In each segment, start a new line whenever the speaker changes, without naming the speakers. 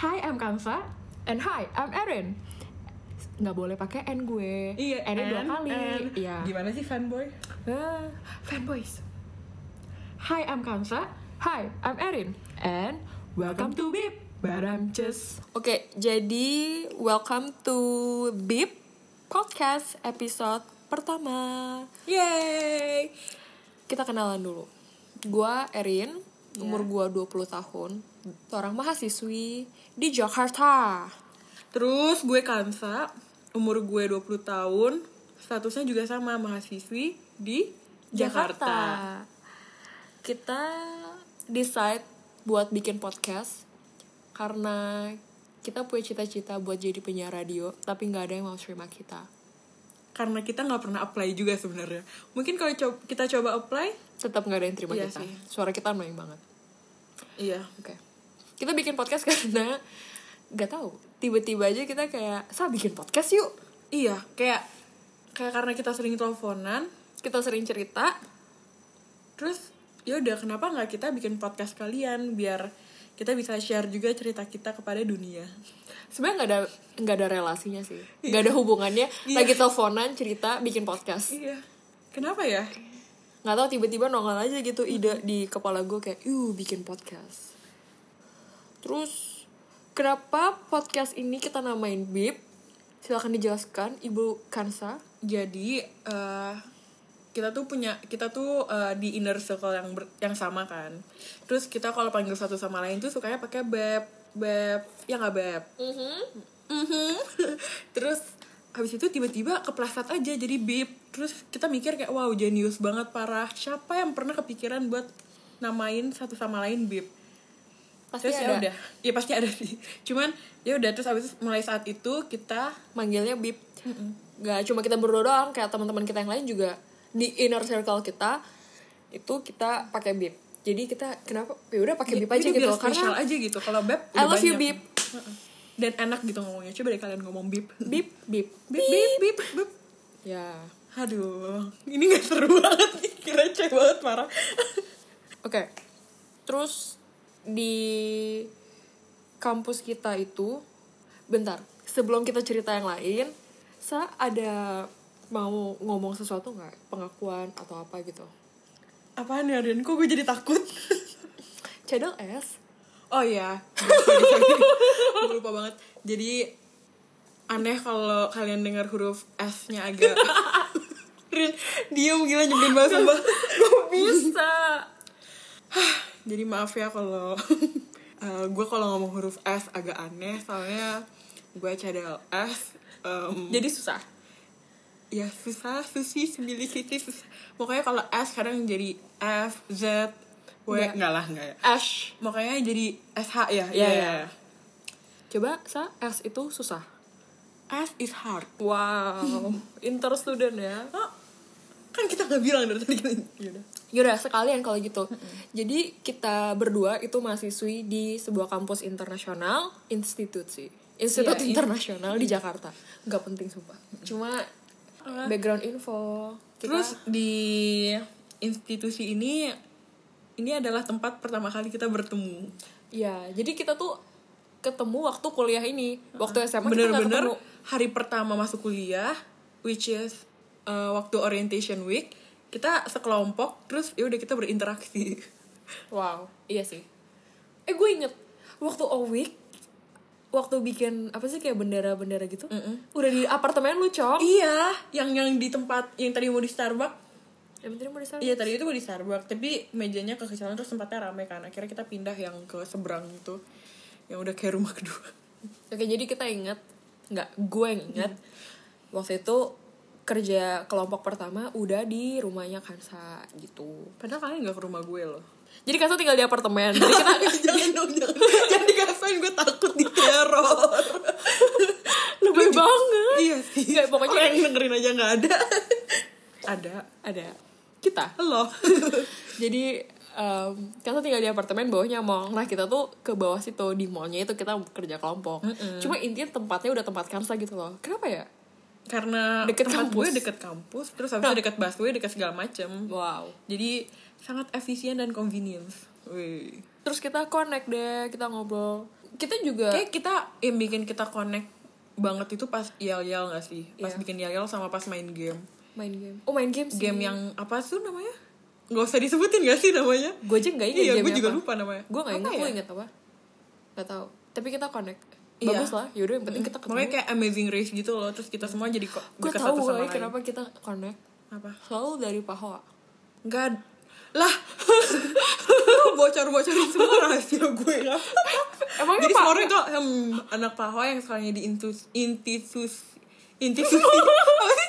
Hi, I'm Kamsa. And hi, I'm Erin. Nggak boleh pakai N gue.
Iya,
N-nya dua
and-
kali.
and.
Iya.
Gimana sih fanboy?
Ah, fanboys. Hi, I'm Kamsa. Hi, I'm Erin. And welcome to Bip. Baram Just.
Oke, jadi welcome to BIP Podcast episode pertama. Yeay. Kita kenalan dulu. Gua Erin,
Ya.
umur gua 20 tahun, seorang mahasiswi di Jakarta.
Terus gue Kansa, umur gue 20 tahun, statusnya juga sama mahasiswi di Jakarta.
Kita decide buat bikin podcast karena kita punya cita-cita buat jadi penyiar radio, tapi nggak ada yang mau terima kita.
Karena kita nggak pernah apply juga sebenarnya. Mungkin kalau co- kita coba apply,
Tetap nggak ada yang terima
Iya
kita.
sih.
Suara kita annoying banget.
iya.
Oke. Kita bikin podcast karena nggak tahu. Tiba-tiba aja kita kayak, "Sa bikin podcast yuk."
Iya, kayak kayak karena kita sering teleponan,
Kita sering cerita,
terus ya udah kenapa nggak kita bikin podcast kalian biar kita bisa share juga cerita kita kepada dunia.
sebenarnya nggak ada nggak ada relasinya sih.
Iya.
nggak ada hubungannya. Lagi teleponan, cerita, bikin podcast.
Iya. Kenapa ya?
nggak tahu tiba-tiba nongol aja gitu ide di kepala gue kayak, "Yuh, bikin podcast." Terus kenapa podcast ini kita namain Bib? Silahkan dijelaskan Ibu Kansa.
Jadi eh, kita tuh punya kita tuh eh, di inner circle yang ber- yang sama kan. Terus kita kalau panggil satu sama lain tuh sukanya pakai beb beb ya nggak beb.
Mm-hmm.
Mhm. Terus habis itu tiba-tiba keplasat aja jadi bib. Terus kita mikir kayak wow jenius banget parah. Siapa yang pernah kepikiran buat namain satu sama lain bib?
Pasti
terus ya
ada.
udah, ya pasti ada sih. Cuman ya udah terus habis mulai saat itu kita
manggilnya bib nggak cuma kita berdua doang kayak teman-teman kita yang lain juga di inner circle kita itu kita pakai bib jadi kita kenapa ya udah pakai bib aja
Jadi
gitu
biar spesial
karena
aja gitu kalau beb
I love you
banyak.
bib
Heeh. dan enak gitu ngomongnya coba deh kalian ngomong bib bib
bib bib
bib bib bib
ya
aduh ini gak seru banget nih kira cek banget parah
oke terus di kampus kita itu bentar sebelum kita cerita yang lain sa ada mau ngomong sesuatu nggak pengakuan atau apa gitu
apaan ya Rin kok gue jadi takut
channel S
oh ya Sorry, sorry. Gue lupa banget jadi aneh kalau kalian dengar huruf S-nya agak Rin diem gila nyebelin banget sumpah.
bisa
Jadi maaf ya kalau eh, gue kalau ngomong huruf S agak aneh soalnya gue CDLS em,
jadi susah
ya susah susi sembilan sisi susah. Pokoknya kalau S kadang jadi F Z W
Nggak.
enggak lah enggak ya.
Ash
Makanya jadi SH ya.
Iya,
ya
iya. Coba sa S itu susah.
S is hard.
Wow, inter student ya.
Oh, kan kita nggak bilang dari tadi. kan. Yaudah.
Yaudah sekalian kalau gitu. Jadi kita berdua itu mahasiswi di sebuah kampus internasional, institut sih. Institut
Iya, in-
internasional di Jakarta. Gak penting sumpah. Cuma background info. Kita,
Terus di institusi ini ini adalah tempat pertama kali kita bertemu.
ya jadi kita tuh ketemu waktu kuliah ini. Waktu SMA kita nggak
bener-bener
ketemu.
hari pertama masuk kuliah which is uh, waktu orientation week kita sekelompok terus ya udah kita berinteraksi
Wow, iya sih. Eh gue inget waktu Owik waktu bikin apa sih kayak bendera-bendera gitu, udah di apartemen lu cok.
iya yang yang di tempat yang tadi mau di Starbucks
Yang penting Ya, mau disana.
iya tadi itu mau di Starbucks tapi mejanya kekecilan terus tempatnya rame kan akhirnya kita pindah yang ke seberang itu yang udah kayak rumah kedua
Oke jadi kita inget, nggak gue yang inget waktu itu kerja kelompok pertama udah di rumahnya Kansa gitu.
padahal kalian gak ke rumah gue loh
Jadi Kansa tinggal di apartemen. Jadi kita
jangan dong jangan jangan dikasihin gue takut diteror
lebih banget.
iya sih
Nggak, pokoknya-
Orang yang dengerin aja nggak ada ada
Ada kita.
Halo.
Jadi em kita tinggal di apartemen bawahnya mall. Nah kita tuh ke bawah situ di mallnya itu kita kerja kelompok. Cuma intinya tempatnya udah tempat kansa gitu loh. Kenapa ya?
Karena
Deket
tempat
kampus.
gue deket kampus, terus habis itu deket busway, deket segala macem.
Wow.
Jadi sangat efisien dan convenience. Wih.
Terus kita connect deh, kita ngobrol. kita juga
Kayak kita yang bikin kita connect banget itu pas yel-yel gak sih? Pas
Iya.
bikin yel-yel sama pas main game.
main game oh main game sih
Game yang apa sih namanya? Gak usah disebutin gak sih namanya?
gue aja nggak ingat
iya,
game ya,
gue juga
apa.
lupa namanya.
gue nggak
Apa
ingat gue
ya?
ingat apa nggak tahu tapi kita connect
Iya.
bagus lah yaudah yang penting kita
Makanya
ketemu
kayak amazing race gitu loh. Terus kita semua jadi kok
gue
dekat
tahu
satu sama
woy,
lain.
kenapa kita connect
Apa?
selalu dari pahoa
Enggak. Lah. Lu bocor-bocorin semua rahasia ya. gue.
Emangnya
Jadi
Pak-
semua orang tuh hmm, anak Pahoa yang sekarang jadi intus intisus intisusi apa sih?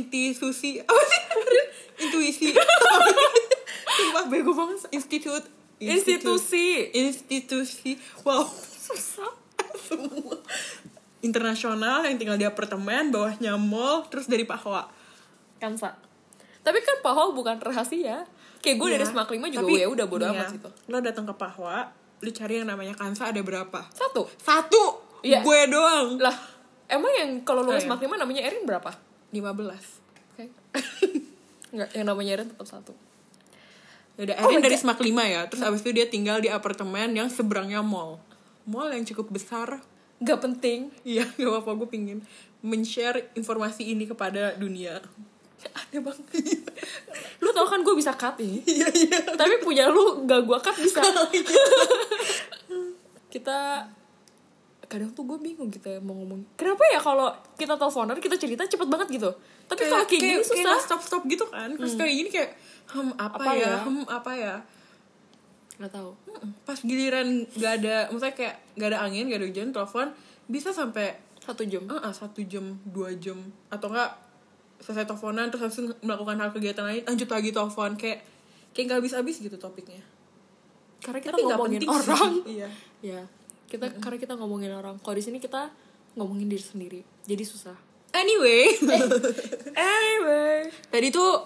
Intisusi apa sih? Intuisi. Apa sih? Sumpah bego banget. Institut
institusi
institusi wow
susah
semua internasional yang tinggal di apartemen bawahnya mall terus dari Pahoa
kansa Kan, tapi kan pahoa bukan rahasia kayak gue dari semak lima juga gue ya udah bodo amat gitu
Iya. lo datang ke Pahoa lu cari yang namanya kansa ada berapa
satu
satu
Iya.
gue doang
lah emang yang kalau lu
Oh,
nggak
iya.
semak lima namanya Erin berapa
15
Oke. Nggak, yang namanya Erin tetap satu
Yaudah,
Oh
Erin
my
dari
God.
Smak 5 ya Terus abis itu dia tinggal di apartemen yang seberangnya mall Mall yang cukup besar
nggak penting
Iya, gak apa-apa gue pingin Men-share informasi ini kepada dunia
Ya, aneh banget lu tau kan gue bisa cut ini tapi punya lu gak gue cut bisa kita kadang tuh gue bingung gitu ya mau ngomong kenapa ya kalau kita teleponan kita cerita cepet banget gitu tapi kalau kayak gini susah
kayak stop-stop gitu kan Terus kayak gini kayak Hmm, apa,
Apa
ya?
ya?
Hmm, apa ya?
nggak tahu
Hmm, Pas giliran gak ada, maksudnya kayak gak ada angin, gak ada hujan, telepon bisa sampai
satu jam
ah satu jam dua jam atau enggak selesai teleponan terus langsung melakukan hal kegiatan lain lanjut lagi telepon kayak kayak nggak habis habis gitu topiknya
karena kita
Tapi nggak
ngomongin
penting sih.
orang
iya
ya kita karena kita ngomongin orang kalau di sini kita ngomongin diri sendiri jadi susah
anyway
anyway
tadi tuh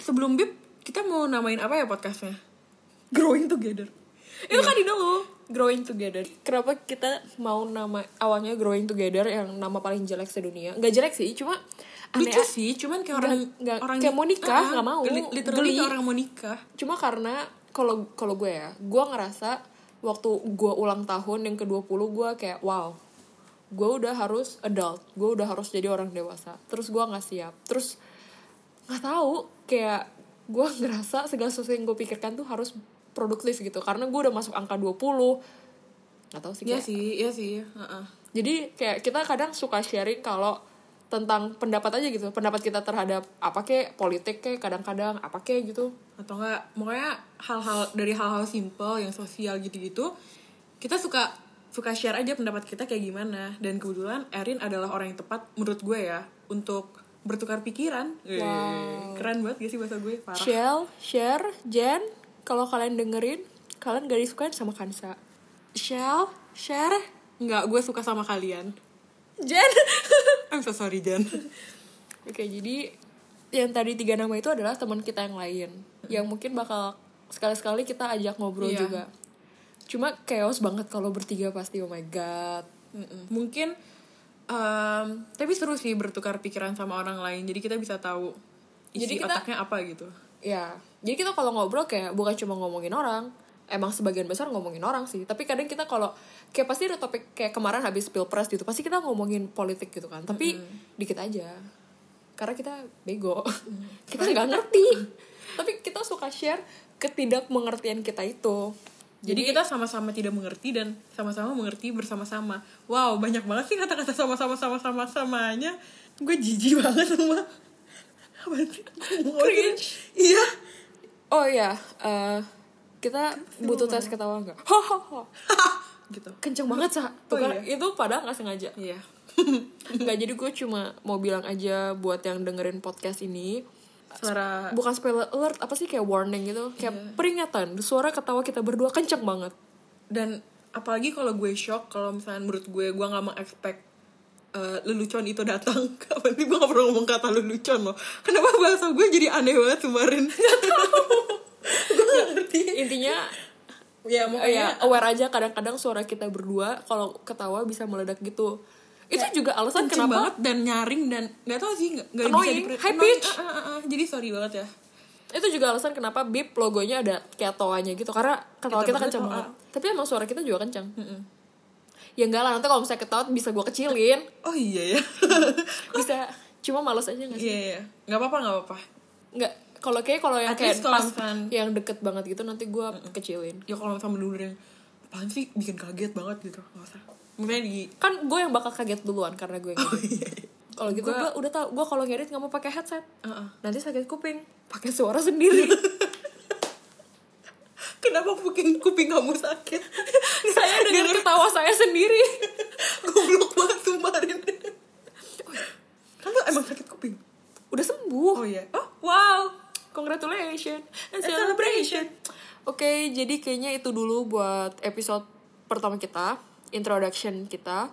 sebelum bib kita mau namain apa ya podcastnya
growing together itu kan ide lo growing together kenapa kita mau nama awalnya growing together yang nama paling jelek sedunia nggak jelek sih cuma aneh ah.
lucu sih cuman kayak orang
Nggak- nggak-
orang
kayak mau nikah,
Ah,
nggak mau.
li- literally
Geli.
kayak orang mau nikah
cuma karena kalau kalau gue ya gue ngerasa waktu gue ulang tahun yang ke 20 gue kayak wow gue udah harus adult gue udah harus jadi orang dewasa terus gue nggak siap terus nggak tahu kayak gue ngerasa segala sesuatu yang gue pikirkan tuh harus produktif gitu karena gue udah masuk angka 20 nggak tahu sih
iya
kayak-
sih iya sih Heeh.
jadi kayak kita kadang suka sharing kalau tentang pendapat aja gitu pendapat kita terhadap apa kek politik kek kadang-kadang apa kek gitu
atau enggak pokoknya hal-hal dari hal-hal simple yang sosial gitu-gitu kita suka suka share aja pendapat kita kayak gimana dan kebetulan Erin adalah orang yang tepat menurut gue ya untuk bertukar pikiran
Wow.
keren banget gak sih bahasa gue parah
Shell, share, Jen, kalau kalian dengerin, kalian gak disukain sama Kansa. Shell, share,
nggak gue suka sama kalian
Jen.
I'm so sorry Jan
Oke, jadi yang tadi tiga nama itu adalah teman kita yang lain, yang mungkin bakal sekali-sekali kita ajak ngobrol
Iya.
juga. Cuma chaos banget kalau bertiga pasti, oh my god.
Mm-mm. mungkin em, tapi seru sih bertukar pikiran sama orang lain jadi kita bisa tahu isi
Jadi kita-
otaknya apa gitu
Ya, jadi kita kalau ngobrol kayak bukan cuma ngomongin orang, emang sebagian besar ngomongin orang sih. Tapi kadang kita kalau kayak pasti ada topik kayak kemarin habis pilpres gitu, pasti kita ngomongin politik gitu kan. Tapi dikit aja, karena kita bego, kita nggak ngerti. Tapi kita suka share ketidakmengertian kita itu.
Jadi, kita sama-sama tidak mengerti dan sama-sama mengerti bersama-sama. Wow, banyak banget sih kata-kata sama-sama sama-sama samanya. Gue jijik banget sama. Apa sih?
Cringe.
Iya.
Oh ya, eh, kita butuh tes ketawa nggak? Hahaha,
gitu.
kenceng banget sa. Tuh
Oh
kan,
iya.
itu padahal nggak sengaja.
Iya.
Nggak jadi gue cuma mau bilang aja buat yang dengerin podcast ini
Suara
bukan spoiler alert apa sih kayak warning gitu kayak
Iya.
peringatan suara ketawa kita berdua kenceng banget
dan apalagi kalau gue shock kalau misalnya menurut gue gue nggak mengexpect eh, lelucon itu datang kapan sih gue gak pernah ngomong kata lelucon loh kenapa bahasa gue jadi aneh banget kemarin gue gak ngerti
intinya
ya
oh ya aware aja kadang-kadang suara kita berdua kalau ketawa bisa meledak gitu itu juga alasan
kenceng
kenapa
banget dan nyaring dan nggak tau sih nggak nggak bisa
Annoying,
diper-
high
annoying.
pitch.
Ah, ah, ah. jadi sorry banget ya
itu juga alasan kenapa bip logonya ada kayak toanya gitu karena ketawa kita
Kita berdua
kenceng
toa.
banget tapi emang suara kita juga kenceng ya enggak lah nanti kalau misalnya ketahuan bisa gue kecilin
oh iya ya
bisa cuma males aja gak sih
iya iya nggak apa apa nggak apa apa
nggak kalau kayak kalau yang
At
kayak
least kalau
pas
misalkan-
yang deket banget gitu nanti gue kecilin
ya kalau sama dulu yang apaan sih bikin kaget banget gitu nggak usah mungkin di
kan gue yang bakal kaget duluan karena gue yang
oh
ngedit.
iya iya.
kalau gitu gue udah tau gue kalau ngedit nggak mau pakai headset
Heeh.
nanti sakit kuping pakai suara sendiri
kenapa kuping kuping kamu sakit
saya dengan ketawa saya sendiri
goblok banget kemarin kan lu emang sakit kuping
udah sembuh
oh iya oh Eh,
wow congratulations
Kan
and celebration oke jadi kayaknya itu dulu buat episode pertama kita introduction kita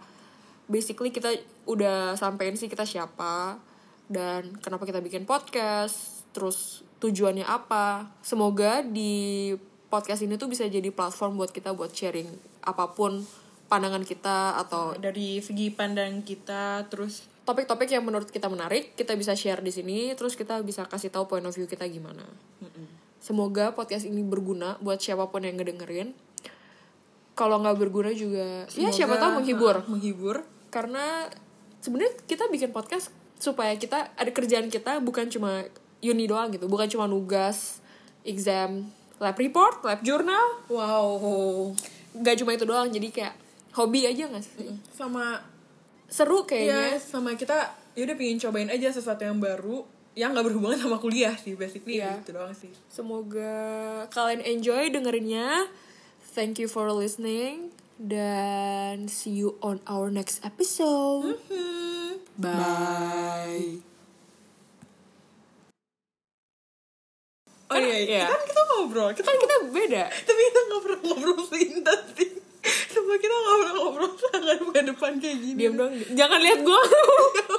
basically kita udah sampein sih kita siapa dan kenapa kita bikin podcast terus tujuannya apa semoga di podcast ini tuh bisa jadi platform buat kita buat sharing apapun pandangan kita atau
Oh, dari segi pandang kita terus
topik-topik yang menurut kita menarik kita bisa share di sini terus kita bisa kasih tahu point of view kita gimana semoga podcast ini berguna buat siapapun yang ngedengerin kalau nggak berguna juga ya siapa
semoga,
tahu menghibur
uh, menghibur
karena sebenarnya kita bikin podcast supaya kita ada kerjaan kita bukan cuma uni doang gitu bukan cuma nugas exam lab report lab jurnal
wow
nggak cuma itu doang jadi kayak hobi aja nggak sih
sama
seru
ya
kayaknya
sama kita ya udah pingin cobain aja sesuatu yang baru yang nggak berhubungan sama kuliah sih basically
Iya.
gitu doang sih
Semoga kalian enjoy dengerinnya. Thank you for listening dan see you on our next episode. Bye.
oh iya,
iya.
iya. kan kita ngobrol kita
Kan kita beda.
tapi kita nggak pernah ngobrol seintas sih Sumpah kita nggak pernah ngobrol sangat bukan depan kayak gini
Diam dong. Jangan lihat gua.